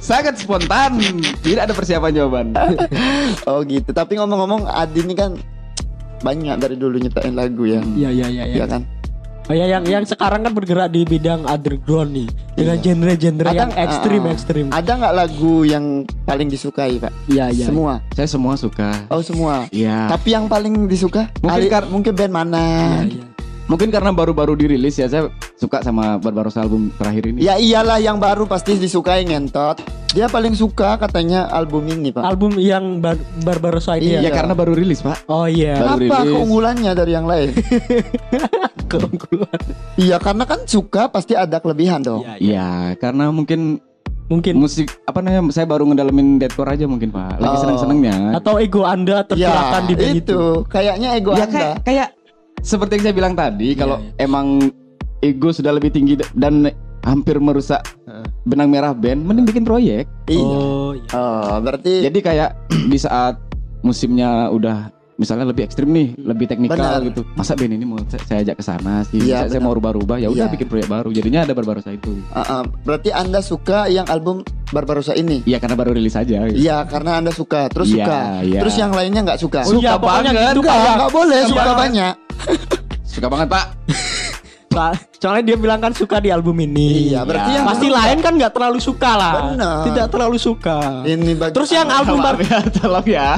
Speaker 2: sangat spontan. Tidak ada persiapan jawaban.
Speaker 1: Oh gitu. Tapi ngomong-ngomong Adi ini kan banyak dari dulu nyiptain lagu ya.
Speaker 3: Iya iya iya. iya.
Speaker 1: Iya kan?
Speaker 3: Oh ya yang yang sekarang kan bergerak di bidang underground nih dengan genre-genre yang ekstrim
Speaker 1: Iya. ah, ah.
Speaker 3: ekstrim.
Speaker 1: Ada nggak lagu yang paling disukai pak?
Speaker 3: Iya iya.
Speaker 1: Semua.
Speaker 2: Saya semua suka.
Speaker 1: Oh semua.
Speaker 2: Iya.
Speaker 1: Tapi yang paling disuka?
Speaker 2: Mungkin kar-
Speaker 1: mungkin band mana?
Speaker 3: Iya, iya.
Speaker 2: Mungkin karena baru-baru dirilis ya saya suka sama Barbarossa album terakhir
Speaker 3: Iya,
Speaker 2: ini.
Speaker 1: Ya iyalah yang baru pasti disukai ngentot. Dia paling suka katanya album ini pak.
Speaker 3: Album yang bar Barbarossa
Speaker 2: Ya,
Speaker 3: ini ya.
Speaker 1: Iya.
Speaker 2: karena baru rilis, Pak.
Speaker 3: Oh iya.
Speaker 2: Baru
Speaker 1: Apa
Speaker 2: rilis.
Speaker 1: keunggulannya dari yang
Speaker 3: (laughs)
Speaker 1: lain?
Speaker 3: Keunggulan.
Speaker 1: Iya karena kan suka pasti ada kelebihan dong.
Speaker 3: Iya, iya.
Speaker 2: Iya, karena mungkin
Speaker 1: Iya.
Speaker 3: Mungkin
Speaker 2: musik apa namanya? Saya baru ngedalamin deathcore aja mungkin, Pak. Lagi
Speaker 1: Oh.
Speaker 2: seneng-senengnya.
Speaker 3: atau ego Anda tergerakkan di band
Speaker 1: Iya, itu.
Speaker 3: itu.
Speaker 1: Kayaknya ego
Speaker 2: ya
Speaker 1: anda.
Speaker 2: kayak kayak seperti yang saya bilang tadi kalau
Speaker 3: iya.
Speaker 2: emang ego sudah lebih tinggi da- dan hampir merusak
Speaker 3: Heeh.
Speaker 2: benang merah band mending bikin proyek
Speaker 1: Iya.
Speaker 3: Oh iya.
Speaker 1: Oh, berarti
Speaker 2: (clears throat) jadi kayak di saat musimnya udah misalnya lebih ekstrim nih, lebih teknikal
Speaker 1: Benar.
Speaker 2: gitu. Masa band ini mau saya, saya ajak ke sana sih, saya,
Speaker 1: Iya,
Speaker 2: saya
Speaker 1: benar.
Speaker 2: mau rubah-rubah, ya udah
Speaker 1: Iya.
Speaker 2: bikin proyek baru. Jadinya ada Barbarossa itu.
Speaker 1: Ah, ah, berarti Anda suka yang album Barbarossa ini?
Speaker 2: Iya karena baru rilis aja. Gitu.
Speaker 1: Iya, karena Anda suka, terus
Speaker 2: Iya,
Speaker 1: suka.
Speaker 2: iya.
Speaker 1: Terus yang lainnya nggak Eh, suka.
Speaker 3: Oh, iya, pokoknya gitu,
Speaker 1: Nggak,
Speaker 3: Pak.
Speaker 1: nggak boleh
Speaker 3: Suka
Speaker 1: suka
Speaker 3: banget.
Speaker 1: banyak.
Speaker 2: Suka banget Pak.
Speaker 3: Soal- Soalnya dia bilang kan suka di album ini.
Speaker 1: Iya, berarti
Speaker 2: Iya.
Speaker 1: yang
Speaker 3: Pasti
Speaker 1: suka.
Speaker 3: lain kan nggak terlalu suka lah.
Speaker 1: Benar.
Speaker 3: Tidak terlalu suka.
Speaker 1: Ini bagi-
Speaker 3: Terus yang album
Speaker 2: Maaf
Speaker 3: bar
Speaker 2: ya, (laughs) tolong ya.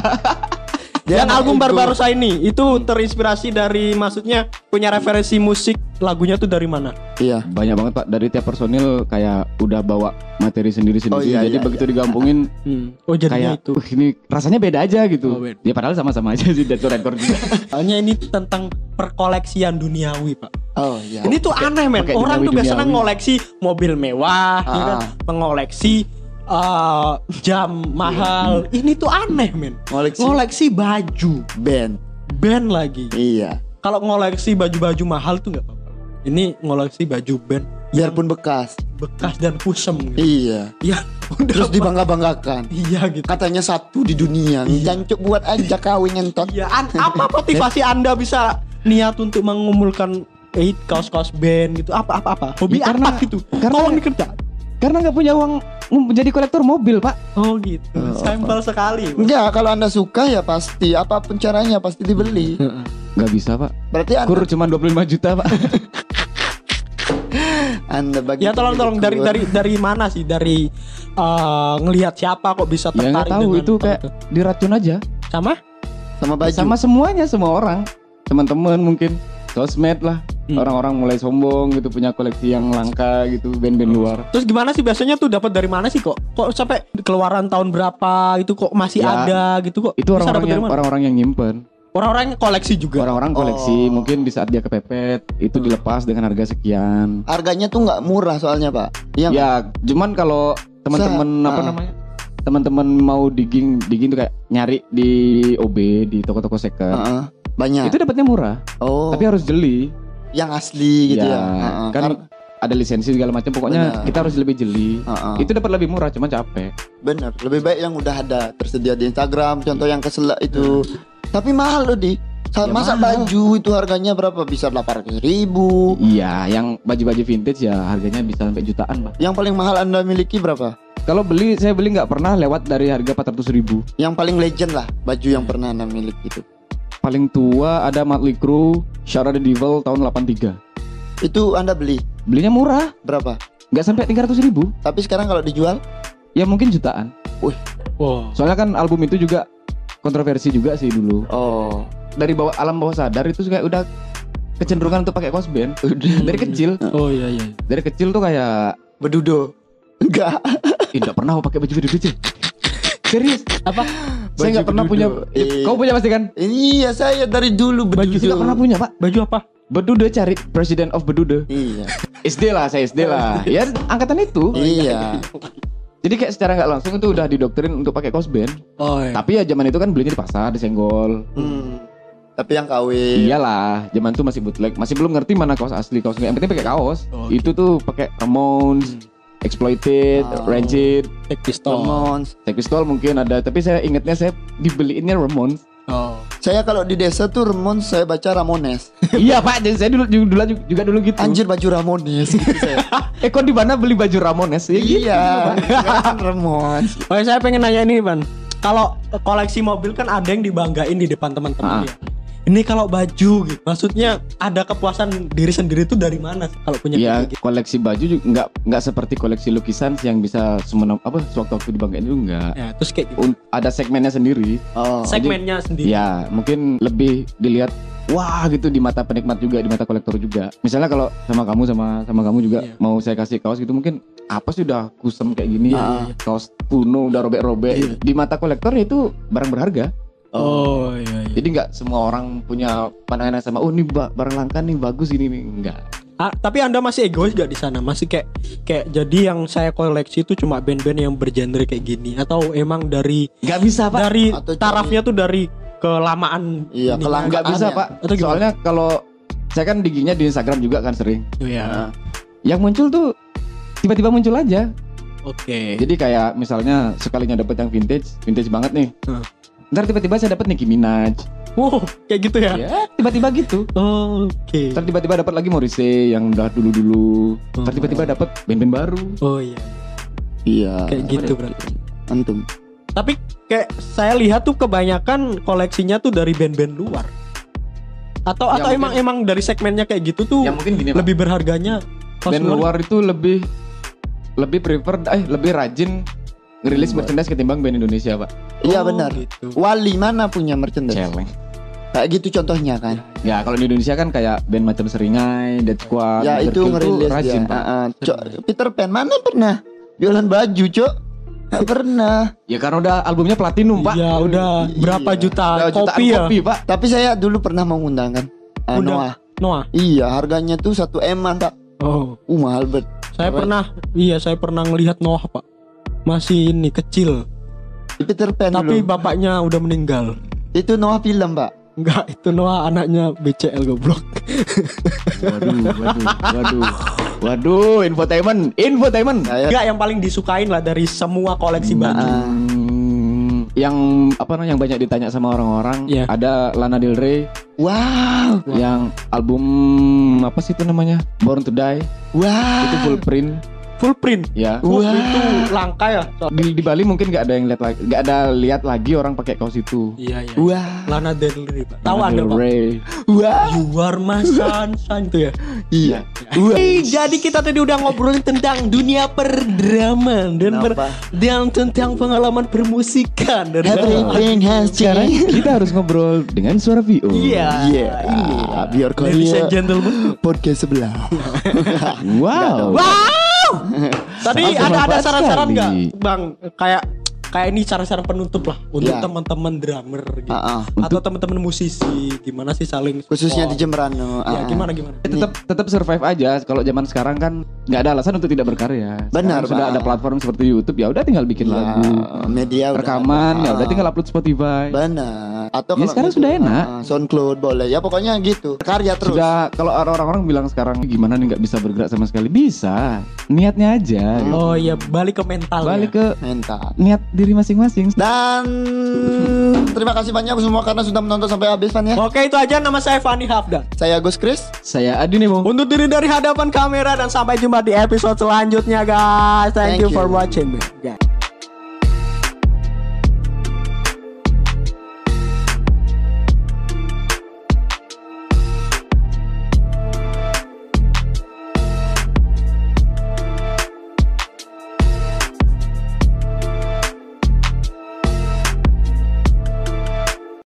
Speaker 1: Dia
Speaker 3: yang
Speaker 1: nggak
Speaker 3: album
Speaker 1: ikut.
Speaker 3: Barbarossa ini itu terinspirasi dari maksudnya punya referensi musik lagunya tuh dari mana?
Speaker 1: Iya.
Speaker 2: Banyak banget Pak dari tiap personil kayak udah bawa materi sendiri-sendiri.
Speaker 1: Oh, iya,
Speaker 2: Jadi
Speaker 1: iya,
Speaker 2: begitu
Speaker 1: (laughs)
Speaker 2: digampungin
Speaker 1: Hmm.
Speaker 3: Oh jadinya
Speaker 2: kayak
Speaker 3: itu.
Speaker 2: "Wih, ini rasanya beda aja gitu.
Speaker 3: Oh, beda.
Speaker 2: ya padahal sama-sama aja sih dan record juga.
Speaker 3: Soalnya ini tentang perkoleksian duniawi pak.
Speaker 1: (laughs) Oh iya.
Speaker 3: Ini tuh aneh men.
Speaker 2: pakai
Speaker 3: Orang tuh
Speaker 2: duniawi-duniawi.
Speaker 3: biasanya ngoleksi mobil mewah, ya kan?
Speaker 1: Ah.
Speaker 3: mengoleksi eh, jam mahal. Ini tuh aneh men.
Speaker 1: Iya. Ngoleksi.
Speaker 3: Ngoleksi baju,
Speaker 1: band.
Speaker 3: band lagi.
Speaker 1: Iya.
Speaker 3: Kalau ngoleksi baju-baju mahal tuh nggak apa-apa. Ini ngoleksi baju band
Speaker 1: Biarpun bekas.
Speaker 3: bekas dan kusem. Gitu.
Speaker 1: Iya.
Speaker 3: Ya udah.
Speaker 1: Terus dibangga-banggakan.
Speaker 3: Iya gitu.
Speaker 1: Katanya satu di dunia. Jancuk buat aja kawin ngentot.
Speaker 3: Iya. an- apa motivasi anda bisa niat untuk mengumpulkan eh, kaos-kaos band gitu? Apa apa apa? Hobi
Speaker 2: Ya, karena-
Speaker 3: apa gitu?
Speaker 2: karena-
Speaker 3: Tolong dikerjakan.
Speaker 2: karena nggak punya uang menjadi kolektor mobil Pak.
Speaker 3: Oh gitu. Sampel sekali. Pak.
Speaker 1: Enggak, kalau Anda suka ya pasti apapun caranya pasti
Speaker 2: (laughs)
Speaker 1: dibeli.
Speaker 2: Nggak bisa Pak.
Speaker 1: Berarti Anda,
Speaker 2: Kur cuma 25 juta Pak.
Speaker 1: anda bagi
Speaker 3: Ya tolong tolong dari dari dari mana sih dari eh, ngelihat siapa kok bisa
Speaker 2: ya nggak
Speaker 3: tertarik
Speaker 2: tahu
Speaker 3: dengan
Speaker 2: itu kayak diracun aja.
Speaker 3: sama?
Speaker 1: sama baju.
Speaker 2: sama semuanya semua orang teman-teman mungkin sosmed lah
Speaker 3: Hmm.
Speaker 2: orang-orang mulai sombong gitu punya koleksi yang langka gitu band-band luar
Speaker 3: Terus gimana sih biasanya tuh dapat dari mana sih kok? Kok sampai keluaran tahun berapa itu kok masih
Speaker 2: Ya,
Speaker 3: ada gitu kok?
Speaker 2: itu
Speaker 3: Bisa
Speaker 2: orang-orang
Speaker 3: dapat dari
Speaker 2: yang
Speaker 3: mana?
Speaker 2: orang-orang yang nyimpen
Speaker 3: orang-orang yang koleksi juga.
Speaker 2: orang-orang koleksi mungkin di saat dia kepepet itu dilepas dengan harga sekian
Speaker 1: Harganya tuh nggak murah soalnya pak. Iya. nggak?
Speaker 2: ya cuman kalau teman-teman
Speaker 1: Sa-
Speaker 2: apa
Speaker 1: ah.
Speaker 2: namanya teman-teman mau digging digging tuh kayak nyari di OB di toko-toko second
Speaker 1: Heeh. Banyak.
Speaker 2: itu dapatnya murah
Speaker 1: Ah, ya. oh.
Speaker 2: tapi harus jeli
Speaker 1: yang asli gitu ya. Heeh.
Speaker 2: kan
Speaker 1: Kar-
Speaker 2: ada lisensi segala macam pokoknya
Speaker 1: Benar.
Speaker 2: kita harus lebih jeli
Speaker 1: Heeh.
Speaker 2: itu dapat lebih murah cuman capek
Speaker 1: Bener, lebih baik yang udah ada tersedia di Instagram. Contoh yang kesela itu, tapi mahal loh di. Sa-
Speaker 2: Hmm. Ya,
Speaker 1: masa
Speaker 2: mahal.
Speaker 1: baju itu harganya berapa? Bisa delapan ribu.
Speaker 2: Iya, yang baju-baju vintage ya harganya bisa sampai jutaan, Pak.
Speaker 1: Yang paling mahal anda miliki berapa?
Speaker 2: Kalau beli, saya beli nggak pernah lewat dari harga 400 ribu.
Speaker 1: Yang paling legend lah baju yang pernah anda miliki itu.
Speaker 2: Paling tua ada Motley Crue, Shout Out the Devil tahun 83.
Speaker 1: Itu anda beli
Speaker 2: Belinya murah,
Speaker 1: berapa?
Speaker 2: nggak sampai 300 ribu.
Speaker 1: Tapi sekarang kalau dijual,
Speaker 2: Ya mungkin jutaan.
Speaker 3: Wow.
Speaker 2: Soalnya kan album itu juga kontroversi juga sih dulu.
Speaker 1: oh
Speaker 2: Dari bawah alam bawah sadar itu kayak udah kecenderungan untuk pakai kaos band. dari kecil,
Speaker 3: Oh iya iya.
Speaker 2: dari kecil tuh kayak
Speaker 1: bedudo. Enggak.
Speaker 2: "Ih, nggak pernah mau pakai baju baju kecil. Serius?
Speaker 3: Apa?
Speaker 2: Saya nggak
Speaker 1: Baju
Speaker 2: pernah punya.
Speaker 1: bedudo. Iya.
Speaker 2: Kau punya pasti kan?
Speaker 1: (laughs) Iya saya dari dulu
Speaker 3: Baju
Speaker 1: bedudo.
Speaker 2: Nggak pernah punya, Pak.
Speaker 3: Baju apa?
Speaker 2: Bedude cari President of Bedude.
Speaker 1: (laughs) Iya.
Speaker 2: SD lah saya SD (laughs) lah ya angkatan itu
Speaker 1: iya.
Speaker 2: jadi kayak secara nggak langsung itu udah didoktrin untuk pakai kaos band
Speaker 3: Oh iya.
Speaker 2: tapi ya zaman itu kan belinya di pasar di senggol
Speaker 1: Hmm. Tapi yang kawin.
Speaker 2: Iya. iyalah zaman itu masih bootleg masih belum ngerti mana kaos asli kaos nggak yang penting pakai kaos
Speaker 3: Oh,
Speaker 2: itu tuh pakai Ramones Exploited,
Speaker 1: Oh.
Speaker 2: Rancid,
Speaker 3: Take pistol.
Speaker 1: Ramones.
Speaker 2: Sex Pistol mungkin ada, tapi saya ingetnya saya dibeliinnya Ramones.
Speaker 3: Oh.
Speaker 1: Saya kalau di desa tuh Ramones saya baca (laughs) Ramones.
Speaker 2: iya pak, jadi saya dulu juga, juga dulu gitu.
Speaker 1: Anjir baju (laughs) Ramones gitu saya.
Speaker 2: Eh kok di mana beli baju Ramones? Ya, gitu.
Speaker 1: (laughs) iya. kan Ramones.
Speaker 3: Oke, saya pengen nanya ini, Ban. Kalau koleksi mobil kan ada yang dibanggain di depan
Speaker 2: Ah.
Speaker 3: teman-teman ya. Ini kalau baju gitu. Maksudnya ada kepuasan diri sendiri itu dari mana sih kalau punya
Speaker 2: Ya
Speaker 3: kayak gitu?
Speaker 2: koleksi baju juga nggak nggak seperti koleksi lukisan yang bisa semena apa sewaktu-waktu dibanggain itu nggak.
Speaker 3: Ya, terus kayak gitu.
Speaker 2: Un- ada segmennya sendiri.
Speaker 1: Oh.
Speaker 3: segmennya sendiri.
Speaker 2: Ya mungkin lebih dilihat wah gitu di mata penikmat juga di mata kolektor juga. Misalnya kalau sama kamu sama sama kamu juga
Speaker 3: Iya.
Speaker 2: mau saya kasih kaos gitu mungkin apa sih udah kusem kayak gini
Speaker 1: Ah.
Speaker 2: kaos kuno udah robek-robek
Speaker 3: Iya.
Speaker 2: di mata kolektor itu barang berharga
Speaker 3: Oh, iya iya.
Speaker 2: jadi nggak semua orang punya pandangan yang sama oh ini ba- barang langka nih bagus ini nih enggak
Speaker 3: Ah, tapi Anda masih egois gak di sana? Masih kayak kayak jadi yang saya koleksi itu cuma band-band yang bergenre kayak gini atau emang dari
Speaker 2: nggak bisa pak
Speaker 3: dari
Speaker 1: atau cari-
Speaker 3: tarafnya tuh dari kelamaan
Speaker 1: Iya,
Speaker 3: ininya.
Speaker 1: kelang-
Speaker 2: nggak bisa
Speaker 1: Angkatannya.
Speaker 2: pak
Speaker 3: Atau gimana?
Speaker 2: soalnya kalau saya kan diginya di Instagram juga kan sering
Speaker 3: Iya.
Speaker 1: Nah,
Speaker 2: yang muncul tuh tiba-tiba muncul aja
Speaker 3: Oke.
Speaker 2: jadi kayak misalnya sekalinya dapet yang vintage vintage banget nih
Speaker 3: Hmm.
Speaker 2: ntar tiba-tiba saya dapat Nicki Minaj
Speaker 3: Wow, kayak gitu ya.
Speaker 2: ya tiba-tiba gitu
Speaker 3: Oke.
Speaker 2: ntar tiba-tiba dapat lagi Morrissey yang udah dulu-dulu ntar tiba-tiba dapat band-band baru
Speaker 3: Oh iya.
Speaker 1: Iya.
Speaker 2: Ah,
Speaker 3: Kayak gitu
Speaker 2: ya?
Speaker 3: berarti.
Speaker 1: Antum.
Speaker 3: Tapi kayak saya lihat tuh kebanyakan koleksinya tuh dari band-band luar. Atau
Speaker 2: Ya,
Speaker 3: atau
Speaker 2: mungkin.
Speaker 3: emang emang dari segmennya kayak gitu tuh
Speaker 2: yang Ya, mungkin gini Pak.
Speaker 3: lebih berharganya pas
Speaker 2: band luar itu lebih lebih prefer eh lebih rajin ngerilis merchandise ketimbang band Indonesia pak
Speaker 1: Iya
Speaker 3: Oh,
Speaker 1: benar.
Speaker 3: gitu.
Speaker 1: Wali mana punya merchandise? Kayak gitu contohnya kan.
Speaker 2: ya kalau di Indonesia kan kayak band macam Seringai Dead Squad
Speaker 1: ya
Speaker 2: Mr. King
Speaker 1: itu
Speaker 2: tuh
Speaker 1: ngerilis
Speaker 2: rajin
Speaker 1: dia.
Speaker 2: pak
Speaker 1: Ah, ah. Cok, Peter Pan mana pernah jualan baju, Cok? Nggak pernah.
Speaker 2: ya karena udah albumnya platinum pak
Speaker 3: Iya, udah
Speaker 1: Iya.
Speaker 3: berapa juta
Speaker 2: Udah jutaan
Speaker 3: kopi ya?
Speaker 2: kopi pak
Speaker 1: Tapi saya dulu pernah mengundang kan. Ah,
Speaker 3: Undang.
Speaker 1: Noah.
Speaker 3: Noah.
Speaker 1: Iya, harganya tuh satu eman, Pak.
Speaker 3: Oh.
Speaker 1: Uh, mahal bet.
Speaker 3: Saya
Speaker 1: Apa?
Speaker 3: pernah, iya saya pernah ngelihat Noah pak masih ini kecil,
Speaker 1: Di Peter Pan
Speaker 2: Kan
Speaker 3: tapi
Speaker 1: dulu.
Speaker 3: bapaknya udah meninggal.
Speaker 1: Itu Noah film, Pak.
Speaker 3: Enggak, itu Noah anaknya BCL goblok.
Speaker 2: waduh waduh waduh waduh infotainment infotainment
Speaker 1: Saya
Speaker 3: Enggak, yang paling disukain lah dari semua
Speaker 2: Nah.
Speaker 3: koleksi baju.
Speaker 1: Ah,
Speaker 2: Hmm, yang apa namanya yang banyak ditanya sama orang-orang
Speaker 3: Iya.
Speaker 2: ada Lana Del Rey
Speaker 1: wow,
Speaker 2: yang album apa sih itu namanya Born to Die
Speaker 1: wow.
Speaker 2: itu full print
Speaker 3: Full print.
Speaker 2: ya
Speaker 3: Terus
Speaker 1: Wah.
Speaker 3: itu langka ya. soal-
Speaker 2: di, di Bali mungkin nggak ada yang lihat lagi nggak ada lihat lagi orang pakai kaos itu
Speaker 3: Iya iya.
Speaker 1: Wah,
Speaker 3: Lana Del Rey pak. Tahu
Speaker 2: Lana
Speaker 3: anda
Speaker 2: Del
Speaker 3: pak?
Speaker 2: Rey.
Speaker 1: wah,
Speaker 3: You are my sunshine itu ya.
Speaker 1: iya, (laughs) wah.
Speaker 3: Hey, jadi kita tadi udah ngobrolin tentang dunia perdraman dan per-
Speaker 1: Kenapa?
Speaker 3: dan tentang pengalaman permusikan dari
Speaker 1: Everything has
Speaker 2: sekarang Ah,
Speaker 1: changed.
Speaker 2: kita harus ngobrol dengan suara VO
Speaker 3: Iya.
Speaker 1: Iya,
Speaker 3: Ini.
Speaker 1: biar kau
Speaker 3: Ladies and gentlemen.
Speaker 2: (laughs)
Speaker 1: podcast sebelah.
Speaker 2: wow
Speaker 3: Wow.
Speaker 2: Sangat
Speaker 3: Tadi ada ada
Speaker 2: bermanfaat
Speaker 3: saran-saran
Speaker 2: sekali.
Speaker 3: nggak, Bang? Kayak kayak ini cara-cara penutup lah untuk
Speaker 1: Iya.
Speaker 3: teman-teman drummer gitu.
Speaker 1: Ah, ah.
Speaker 3: Atau teman-teman musisi gimana sih saling support.
Speaker 1: Khususnya di Jemberan. no. Ah,
Speaker 3: Ya,
Speaker 1: ah.
Speaker 3: gimana gimana.
Speaker 2: tetap tetap survive aja kalau zaman sekarang kan nggak ada alasan untuk tidak berkarya Sekarang
Speaker 1: Benar,
Speaker 2: sudah
Speaker 1: Pak.
Speaker 2: ada platform seperti YouTube ya udah tinggal bikin
Speaker 1: Iya,
Speaker 2: lagu
Speaker 1: media udah
Speaker 2: rekaman
Speaker 1: ada.
Speaker 2: ya udah tinggal upload Spotify
Speaker 1: Benar. Atau
Speaker 2: Jadi Ya,
Speaker 1: kalau
Speaker 2: sekarang
Speaker 1: gitu,
Speaker 2: sudah
Speaker 1: ah,
Speaker 2: enak.
Speaker 1: ah, SoundCloud boleh. Ya pokoknya gitu. Karya terus.
Speaker 2: sudah kalau orang-orang bilang sekarang gimana nih nggak bisa bergerak sama sekali bisa niatnya aja gitu.
Speaker 3: Oh iya, balik ke mental.
Speaker 2: balik
Speaker 3: ya.
Speaker 2: ke
Speaker 1: Mental.
Speaker 2: niat diri masing-masing
Speaker 1: Dan terima kasih banyak semua karena sudah menonton sampai habis Fan ya.
Speaker 3: Oke, itu aja nama saya Fani Hafdan.
Speaker 1: Saya Gus Kris.
Speaker 2: saya Adi Nemo
Speaker 3: Untuk diri dari hadapan kamera dan sampai jumpa di episode selanjutnya, guys. Thank,
Speaker 1: Thank
Speaker 3: you, for
Speaker 1: you.
Speaker 3: watching, guys.